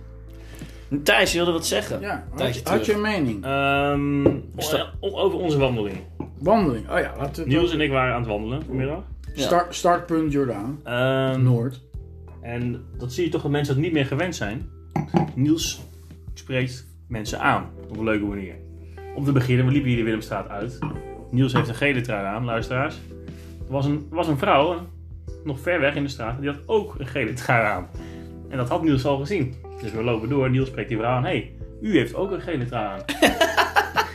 Speaker 1: Thijs, je wilde wat zeggen.
Speaker 3: Ja, had,
Speaker 1: Tijdje
Speaker 3: je- had je
Speaker 1: terug.
Speaker 3: een mening?
Speaker 2: Ehm,
Speaker 1: Is dat-
Speaker 2: o- over onze wandeling.
Speaker 3: Wandeling, oh ja, laten we het
Speaker 2: Niels en ik waren aan het wandelen vanmiddag.
Speaker 1: Ja.
Speaker 3: Start, startpunt Jordaan,
Speaker 2: Ehm,
Speaker 3: Noord.
Speaker 2: En dat zie je toch dat mensen dat niet meer gewend zijn. Niels spreekt mensen aan op een leuke manier. Om te beginnen, we liepen hier de Willemstraat uit. Niels heeft een gele trui aan, luisteraars. Er was een, er was een vrouw, nog ver weg in de straat, die had ook een gele trui aan. En dat had Niels al gezien. Dus we lopen door, Niels spreekt die vrouw aan. Hé, hey, u heeft ook een gele trui aan.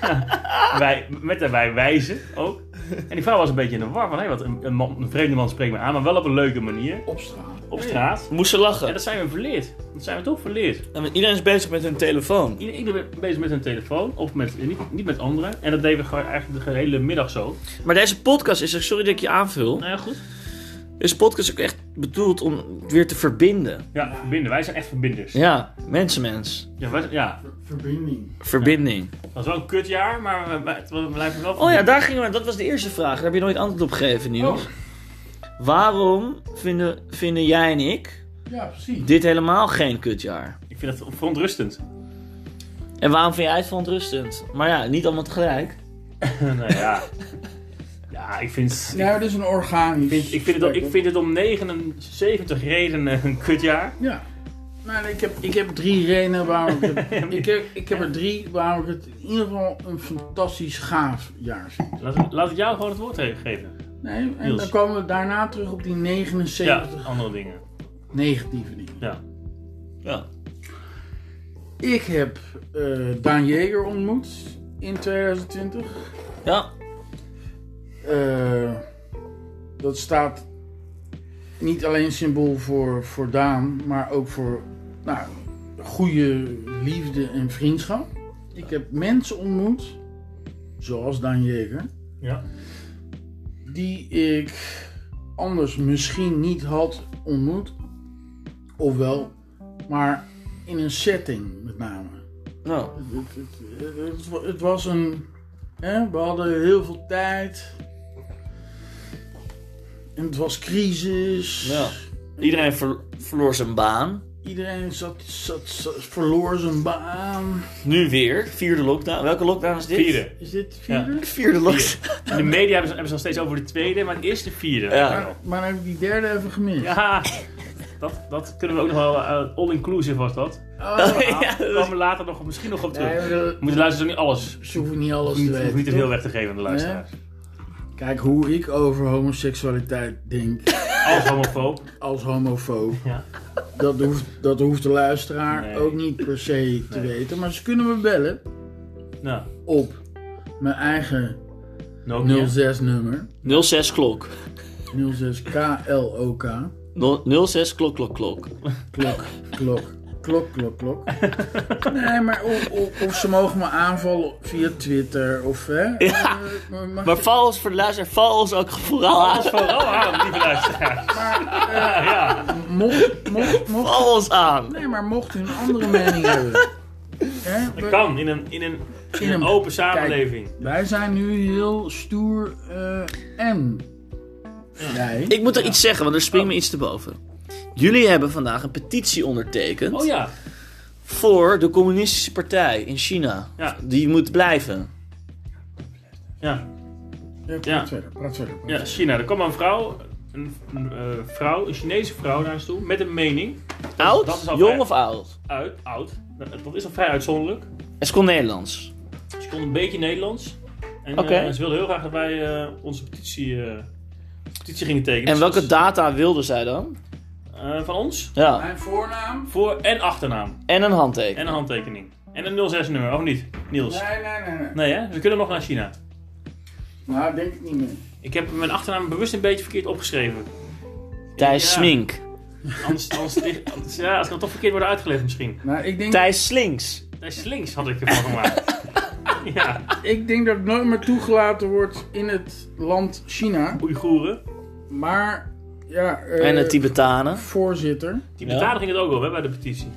Speaker 2: Ja, wij, met daarbij wijzen ook. En die vrouw was een beetje in de war van... Hé, wat een, een, man, een vreemde man spreekt me aan, maar wel op een leuke manier.
Speaker 3: Op straat.
Speaker 2: Op straat.
Speaker 1: Moest ze lachen.
Speaker 2: Ja, dat zijn we verleerd. Dat zijn we toch verleerd.
Speaker 1: En Iedereen is bezig met hun telefoon.
Speaker 2: Ieder- Iedereen is bezig met hun telefoon of met, eh, niet, niet met anderen. En dat deden we gewoon eigenlijk de hele middag zo.
Speaker 1: Maar deze podcast is, er- sorry dat ik je aanvul.
Speaker 2: Nou ja, goed.
Speaker 1: Deze podcast is ook echt bedoeld om weer te verbinden.
Speaker 2: Ja, verbinden. Wij zijn echt verbinders. Ja,
Speaker 1: Ja, mensen, mens.
Speaker 2: wij zijn- ja.
Speaker 3: Ver- Verbinding.
Speaker 1: Verbinding.
Speaker 2: het was wel een kutjaar, maar we, we- we blijven wel
Speaker 1: Oh ja,
Speaker 2: verbinden.
Speaker 1: daar gingen we. Dat was de eerste vraag. Daar heb je nooit antwoord op gegeven, Niels.
Speaker 3: Oh,
Speaker 1: Waarom vinden, vinden jij en ik
Speaker 3: Ja, precies.
Speaker 1: dit helemaal geen kutjaar?
Speaker 2: Ik vind dat verontrustend. <laughs>
Speaker 1: En waarom vind jij het verontrustend? Maar ja, niet allemaal tegelijk.
Speaker 2: nou ja. Ja, ik vind...
Speaker 3: Ja, dat is een organisch.
Speaker 2: Ik vind, ik, vind het, ik vind het om 79 redenen een kutjaar.
Speaker 3: Ja. Nou, ik, heb, ik heb drie redenen waarom ik
Speaker 2: <laughs>
Speaker 3: het, ik, heb, ik heb er drie waarom ik het in ieder geval een fantastisch gaaf jaar vind.
Speaker 2: Laat, laat ik jou gewoon het woord he- geven.
Speaker 3: Nee, en
Speaker 2: Niels.
Speaker 3: dan komen we daarna terug op die
Speaker 2: Ja,
Speaker 3: 79
Speaker 2: andere dingen.
Speaker 3: negatieve dingen.
Speaker 2: Ja.
Speaker 1: Ja.
Speaker 3: Ik heb eh, Daan Jeger ontmoet in 2020.
Speaker 1: Ja.
Speaker 3: Eh, dat staat niet alleen symbool voor, voor Daan, maar ook voor nou, goede liefde en vriendschap. Ik heb mensen ontmoet, zoals Daan Jeger,
Speaker 2: Ja.
Speaker 3: die ik anders misschien niet had ontmoet. Ofwel, maar in een setting met name.
Speaker 1: Nou,
Speaker 3: Het, het- het- het wa- het was een. Hè, we hadden heel veel tijd. En het was crisis.
Speaker 1: ja. Iedereen ver- verloor zijn baan.
Speaker 3: Iedereen zat, zat, zat- verloor zijn baan.
Speaker 1: Nu weer. Vierde lockdown. Welke lockdown is dit?
Speaker 2: Vierde.
Speaker 3: Is dit de vierde?
Speaker 1: Vierde lockdown. <laughs>
Speaker 2: In de media hebben ze, hebben ze nog steeds over de tweede, maar het is de vierde.
Speaker 1: Ja.
Speaker 3: Maar, maar heb ik die derde even gemist?
Speaker 2: Ja, dat, dat kunnen we ook nog wel. eh, all-inclusive was dat. <laughs>
Speaker 3: Oh,
Speaker 2: Ah,
Speaker 1: Ja,
Speaker 2: Daar
Speaker 1: dat-
Speaker 2: komen we later nog, misschien nog op terug.
Speaker 3: nee, maar dat-
Speaker 2: We moeten luisteren niet alles.
Speaker 3: ze hoeven niet alles te
Speaker 2: Niet, hoef
Speaker 3: weten.
Speaker 2: niet te veel
Speaker 3: toch?
Speaker 2: weg te geven aan de luisteraars.
Speaker 3: Kijk hoe ik over homoseksualiteit denk
Speaker 2: Als homofoob.
Speaker 3: als homofoob.
Speaker 2: Ja.
Speaker 3: Dat, hoeft, dat hoeft de luisteraar
Speaker 2: Nee.
Speaker 3: ook niet per se te
Speaker 2: Nee.
Speaker 3: weten. Maar ze kunnen me bellen
Speaker 2: Nou,
Speaker 3: op mijn eigen
Speaker 2: Nokia.
Speaker 3: 06 nummer.
Speaker 1: 06 klok.
Speaker 3: 06 KLOK.
Speaker 1: No- 06 klok klok klok.
Speaker 3: Klok, klok, klok, klok, klok. Nee, maar of, of, of ze mogen me aanvallen via Twitter of hè.
Speaker 1: Ja.
Speaker 3: Eh, maar mag-
Speaker 1: Maar val ons voor de luisteraar, val ons ook vooral aan.
Speaker 2: Alles vooral aan, lieve luisteraars. Ja, ja.
Speaker 3: mocht, mocht, mocht,
Speaker 1: Val ons aan.
Speaker 3: nee, maar mocht u een andere mening hebben. Hè,
Speaker 2: Dat
Speaker 3: we-
Speaker 2: kan in een, in een, in een
Speaker 3: een-
Speaker 2: open samenleving.
Speaker 3: Wij zijn nu heel stoer eh, en Nee.
Speaker 1: Ik moet er iets zeggen, want er springt me iets te boven. Jullie hebben vandaag een petitie ondertekend
Speaker 2: Oh ja,
Speaker 1: voor de communistische partij in China.
Speaker 2: Ja.
Speaker 1: Die moet blijven.
Speaker 2: ja.
Speaker 3: Ja, praat
Speaker 2: Ja.
Speaker 3: verder, praat verder. praat
Speaker 2: Ja, China. Er kwam een vrouw, een, een, eh, vrouw, een Chinese vrouw naar ons toe, met een mening.
Speaker 1: Oud?
Speaker 2: dat is al
Speaker 1: Jong
Speaker 2: vrij-
Speaker 1: of oud?
Speaker 2: Uit, oud. Dat dat is al vrij uitzonderlijk.
Speaker 1: En ze kon Nederlands.
Speaker 2: Ze kon een beetje Nederlands. En
Speaker 1: Oké.
Speaker 2: eh, ze wilde heel graag dat wij eh, onze petitie, eh, petitie gingen tekenen. Dus
Speaker 1: En welke
Speaker 2: dag?
Speaker 1: data wilde zij dan?
Speaker 2: eh, van ons?
Speaker 3: verder.
Speaker 1: Ja.
Speaker 3: Mijn voornaam?
Speaker 2: Voor- en achternaam.
Speaker 1: En een handteken.
Speaker 2: En een handtekening. En een 06-nummer, of niet? Niels?
Speaker 3: Nee, nee, nee. nee.
Speaker 2: Nee, hè? We kunnen nog naar China.
Speaker 3: Nou, denk ik niet meer.
Speaker 2: Ik heb mijn achternaam bewust een beetje verkeerd opgeschreven.
Speaker 1: Thijs
Speaker 2: Ja.
Speaker 1: Smink.
Speaker 2: Anders, anders, anders- ja, het kan toch verkeerd worden uitgelegd misschien.
Speaker 3: Nou, ik denk,
Speaker 1: Thijs Slinks.
Speaker 2: Thijs Links had ik ervan gemaakt. ja,
Speaker 3: ik denk dat ik nooit meer toegelaten wordt in het land China.
Speaker 2: Oeigoeren.
Speaker 3: Maar, ja... eh,
Speaker 1: en de Tibetanen.
Speaker 3: Voorzitter.
Speaker 2: Die
Speaker 1: Ja.
Speaker 2: betaling ging het ook wel hè, bij de petitie.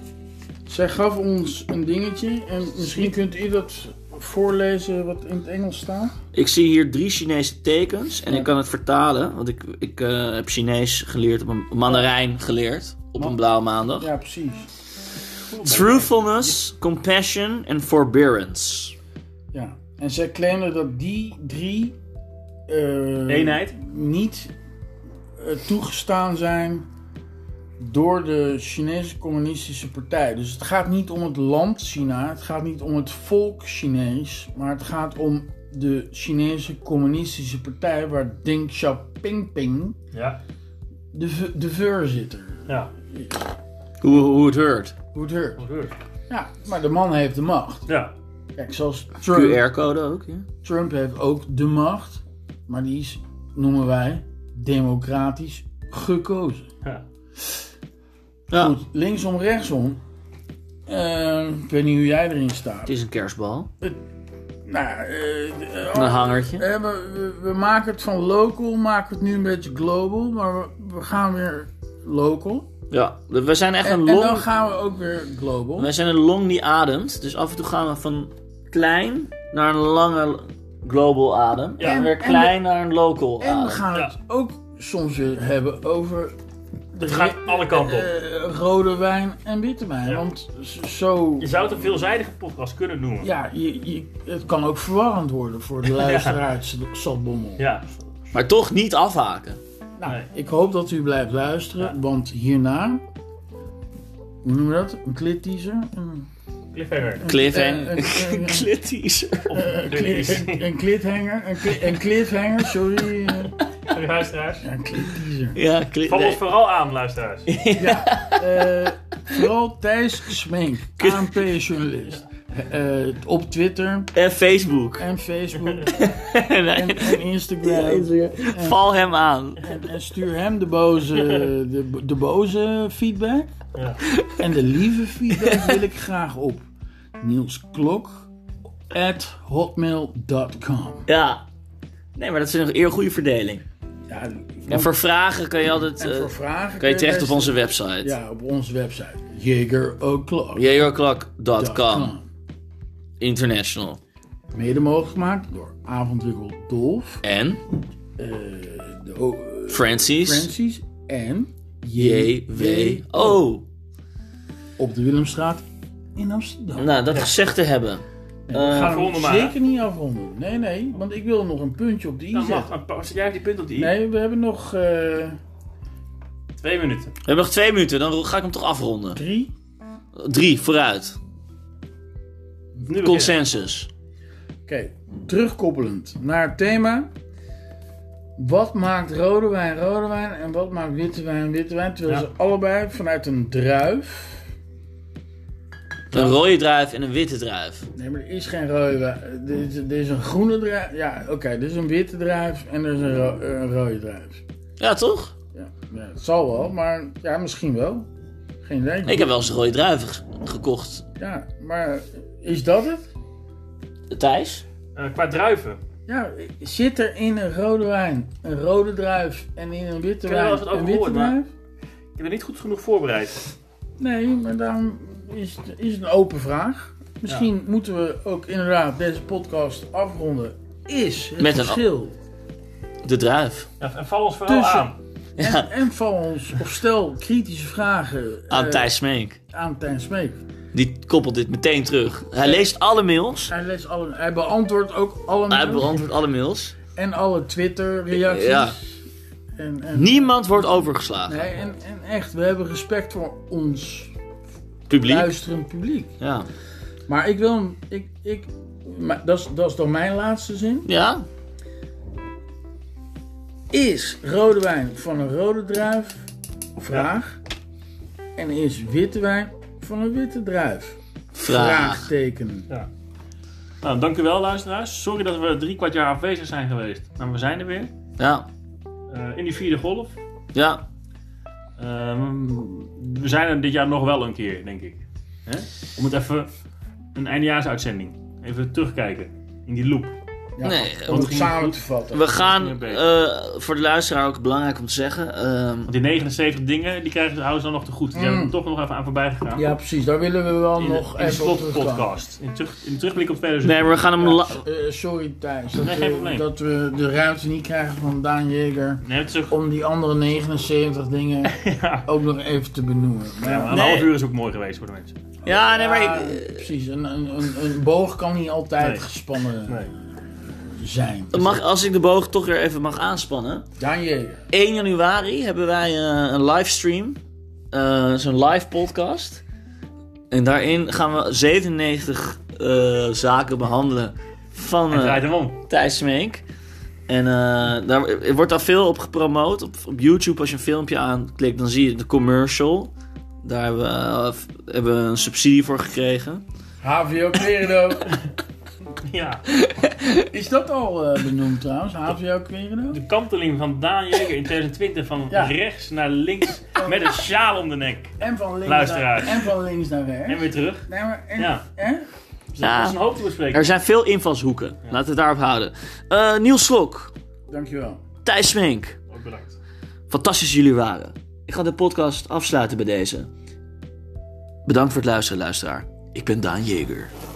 Speaker 3: Zij gaf ons een dingetje. En misschien kunt u dat voorlezen wat in het Engels staat.
Speaker 1: Ik zie hier drie Chinese tekens en
Speaker 3: Ja.
Speaker 1: ik kan het vertalen, want ik, ik eh, heb Chinees geleerd, op een Mandarijn geleerd op een blauwe maandag.
Speaker 3: Ja, precies.
Speaker 1: Truthfulness, compassion en forbearance.
Speaker 3: Ja. En zij claimden dat die drie... eh,
Speaker 2: Eenheid.
Speaker 3: niet eh, toegestaan zijn door de Chinese Communistische Partij. Dus het gaat niet om het land China, het gaat niet om het volk Chinees, maar het gaat om de Chinese Communistische Partij waar Deng Xiaoping
Speaker 2: Ja.
Speaker 3: de, v- de voorzitter
Speaker 2: Ja.
Speaker 1: Hoe, hoe het hoort.
Speaker 3: hoe het heurt.
Speaker 2: Wat gebeurt?
Speaker 3: Ja, maar de man heeft de macht.
Speaker 2: Ja.
Speaker 3: Kijk, zoals Trump,
Speaker 1: QR-code ook, ja.
Speaker 3: Trump heeft ook de macht, maar die is, noemen wij, democratisch gekozen.
Speaker 2: ja.
Speaker 1: Ja,
Speaker 3: Goed, linksom, rechtsom. Eh, ik weet niet hoe jij erin staat.
Speaker 1: het is een kerstbal.
Speaker 3: Nou, eh, eh,
Speaker 1: Een hangertje.
Speaker 3: eh, we, we- we maken het van local, maken het nu een beetje global, maar we, we gaan weer local.
Speaker 1: Ja, we zijn echt een
Speaker 3: En, en dan
Speaker 1: long...
Speaker 3: gaan we ook weer global.
Speaker 1: Wij zijn een long die ademt, dus af en toe gaan we van klein naar een lange global adem.
Speaker 2: Ja.
Speaker 1: En weer
Speaker 3: En- en
Speaker 1: klein naar een local
Speaker 3: En we
Speaker 1: adem.
Speaker 3: gaan het ook soms weer hebben over de
Speaker 2: Het gaat
Speaker 3: re-
Speaker 2: alle kanten op.
Speaker 3: eh, rode wijn en witte wijn.
Speaker 2: Ja.
Speaker 3: Want z- zo,
Speaker 2: Je zou het een veelzijdige podcast kunnen noemen.
Speaker 3: ja, je, je, het kan ook verwarrend worden voor de luisteraars, ja. Salbommel.
Speaker 2: Ja.
Speaker 1: Maar toch niet afhaken.
Speaker 3: Nou,
Speaker 2: Nee.
Speaker 3: ik hoop dat u blijft luisteren,
Speaker 2: Ja.
Speaker 3: want hierna, hoe noemen we dat? Een klitteaser? Een,
Speaker 2: Cliffhanger.
Speaker 3: <laughs>
Speaker 1: Cliffhanger. <laughs>
Speaker 3: Eh, eh, eh,
Speaker 1: Klitties.
Speaker 2: Of Cliffhanger. <laughs>
Speaker 3: een, een cliffhanger? Een, cli- een cliffhanger, sorry. eh,
Speaker 2: Luisteraars.
Speaker 3: Ja, een klitteaser.
Speaker 1: Ja, kli-
Speaker 2: Val ons
Speaker 1: nee.
Speaker 2: vooral aan,
Speaker 3: <laughs>
Speaker 2: luisteraars.
Speaker 3: Ja, eh, vooral Thijs Smenk, ANP-journalist. Eh, op Twitter
Speaker 1: En eh, Facebook.
Speaker 3: en
Speaker 1: <laughs>
Speaker 3: Facebook
Speaker 1: Nee.
Speaker 3: en, eh, en Instagram.
Speaker 1: Val hem aan.
Speaker 3: En, en stuur hem de boze, de, de boze feedback.
Speaker 2: Ja.
Speaker 3: En de lieve feedback wil ik graag op nielsklok at hotmail.com.
Speaker 1: Ja. Nee, maar dat is een eer goede verdeling.
Speaker 3: Ja,
Speaker 1: En voor vragen kan je altijd...
Speaker 3: en
Speaker 1: eh,
Speaker 3: voor vragen
Speaker 1: kan je terecht op
Speaker 3: best-
Speaker 1: onze website.
Speaker 3: Ja, op onze website. Jageroklok.com.
Speaker 1: JagerClock.com International.
Speaker 3: Mede mogelijk gemaakt door Avondwinkel Dolf,
Speaker 1: En
Speaker 3: eh, de o- eh,
Speaker 1: Francis.
Speaker 3: Francis en
Speaker 1: JWO.
Speaker 3: op de Willemstraat in Amsterdam.
Speaker 1: Nou, dat gezegd te hebben. Eh,
Speaker 3: Nee, we gaan
Speaker 2: volgende
Speaker 3: hem
Speaker 2: maar.
Speaker 3: Nou, zeker niet afronden. Nee, nee, want ik wil nog een puntje op de i
Speaker 2: Dan Nou, mag,
Speaker 3: zetten.
Speaker 2: dan pa- zet jij die punt op die i.
Speaker 3: Nee, we hebben nog eh,
Speaker 2: Twee minuten.
Speaker 1: We hebben nog twee minuten, dan ga ik hem toch afronden.
Speaker 3: drie.
Speaker 1: Drie, vooruit.
Speaker 2: Nu beginnen.
Speaker 1: Consensus.
Speaker 3: Oké, terugkoppelend naar het thema. Wat maakt rode wijn rode wijn en wat maakt witte wijn witte wijn? Terwijl
Speaker 2: Ja.
Speaker 3: ze allebei vanuit een druif.
Speaker 1: Een rode druif en een witte druif.
Speaker 3: Nee, maar er is geen rode wijn. Er is, er is een groene druif. Ja, oké, er is een witte druif en er is een, ro- eh, een rode druif.
Speaker 1: Ja, toch?
Speaker 3: Ja, ja, het zal wel, maar ja, misschien wel. Geen idee.
Speaker 1: Ik heb wel eens rode druiven g- gekocht.
Speaker 3: Ja, maar is dat het?
Speaker 1: Thijs?
Speaker 2: Eh, qua druiven.
Speaker 3: Ja, zit er in een rode wijn een rode druif en in een witte
Speaker 2: Ik heb er wel eens wat
Speaker 3: wijn een
Speaker 2: over
Speaker 3: witte
Speaker 2: gehoord, maar-
Speaker 3: druif?
Speaker 2: Ik heb er niet goed genoeg voorbereid.
Speaker 3: Nee, maar daarom is het, is het een open vraag. Misschien moeten we ook inderdaad deze podcast afronden. Is het
Speaker 1: Met een-
Speaker 3: verschil
Speaker 1: De druif.
Speaker 2: Ja, en val ons vooral
Speaker 3: Tussen-
Speaker 2: aan.
Speaker 1: <laughs> Ja,
Speaker 3: En val ons, of stel kritische vragen
Speaker 1: aan
Speaker 3: eh,
Speaker 1: Thijs Smeek.
Speaker 3: aan Tijn Smeek.
Speaker 1: Die koppelt dit meteen terug. Hij leest alle mails.
Speaker 3: Hij, leest alle, hij beantwoordt ook alle
Speaker 1: Hij
Speaker 3: mails
Speaker 1: beantwoordt alle mails.
Speaker 3: en alle Twitter-reacties.
Speaker 1: Ja.
Speaker 3: En, en,
Speaker 1: Niemand wordt overgeslagen.
Speaker 3: nee, en, en echt, we hebben respect voor ons
Speaker 1: Publiek.
Speaker 3: luisterend publiek.
Speaker 1: Ja.
Speaker 3: Maar ik wil hem, ik, ik, maar dat is- dat is dan mijn laatste zin.
Speaker 1: ja.
Speaker 3: Is rode wijn van een rode druif? Vraag. En is witte wijn van een witte druif?
Speaker 1: Vraag.
Speaker 3: Vraagteken.
Speaker 2: Ja. Nou, dank u wel luisteraars. Sorry dat we drie kwart jaar afwezig zijn geweest. Maar we zijn er weer.
Speaker 1: Ja.
Speaker 2: Eh, in die vierde golf.
Speaker 1: Ja.
Speaker 2: Ehm, we zijn er dit jaar nog wel een keer, denk ik. Hè? Om het even een eindejaarsuitzending. Even terugkijken. In die loop.
Speaker 3: Ja,
Speaker 1: Nee,
Speaker 3: om
Speaker 2: want-
Speaker 3: het samen te vatten.
Speaker 1: We gaan, eh, voor de luisteraar ook belangrijk om te zeggen, ehm,
Speaker 2: Want die 79 dingen, die krijgen ze houden ze dan nog te goed. Die zijn er toch nog even aan voorbij gegaan.
Speaker 3: Mm. Ja, precies. Daar willen we wel
Speaker 2: in de,
Speaker 3: nog
Speaker 2: in de
Speaker 3: even op
Speaker 2: slot
Speaker 3: terugkomen.
Speaker 2: podcast. In, terug, in de terugblik op 2000.
Speaker 1: nee, maar we gaan hem... la-
Speaker 3: Eh, sorry Thijs, dat,
Speaker 2: Nee, geen
Speaker 3: we,
Speaker 2: probleem.
Speaker 3: dat we de ruimte niet krijgen van Daan Jeger
Speaker 2: Nee, het is ook,
Speaker 3: om die andere 79 dingen
Speaker 2: <laughs> ja,
Speaker 3: ook nog even te benoemen. Maar ja,
Speaker 2: een
Speaker 1: Nee.
Speaker 2: half uur is ook mooi geweest voor de mensen.
Speaker 1: Ja, Ah, nee, maar... ik-
Speaker 3: eh, precies, een, een, een, een boog kan niet altijd
Speaker 2: Nee.
Speaker 3: gespannen
Speaker 2: Nee.
Speaker 3: zijn.
Speaker 1: Mag, als ik de boog toch weer even mag aanspannen.
Speaker 3: Daan Jeger.
Speaker 1: 1 januari hebben wij eh, een livestream. eh, Zo'n live podcast. En daarin gaan we 97 eh, zaken behandelen van
Speaker 2: En
Speaker 1: eh,
Speaker 2: draait hem om. <laughs>
Speaker 1: Thijs Smeek. En eh, daar er wordt daar veel op gepromoot. Op, op YouTube, als je een filmpje aanklikt, dan zie je de commercial. Daar hebben we, eh, f- hebben we een subsidie voor gekregen.
Speaker 3: HVO Querido.
Speaker 1: <laughs>
Speaker 2: Ja.
Speaker 3: Is dat al eh, benoemd trouwens? HVO Querido?
Speaker 2: De kanteling van Daan Jeger in 2020 van
Speaker 3: Ja.
Speaker 2: rechts naar links met een sjaal om de nek.
Speaker 3: En van links, naar,
Speaker 2: Luisteraars.
Speaker 3: en van links naar rechts.
Speaker 2: En weer terug.
Speaker 3: Nee, maar en,
Speaker 2: Ja.
Speaker 3: hè?
Speaker 2: Dus
Speaker 1: Ja.
Speaker 2: dat is een hoop te bespreken.
Speaker 1: Er zijn veel invalshoeken. Laten we het daarop houden. Eh Niels Slok,
Speaker 3: Dankjewel.
Speaker 1: Thijs Smeek.
Speaker 2: Ook bedankt.
Speaker 1: Fantastisch dat jullie waren. Ik ga de podcast afsluiten bij deze. Bedankt voor het luisteren, luisteraar. Ik ben Daan Jeger.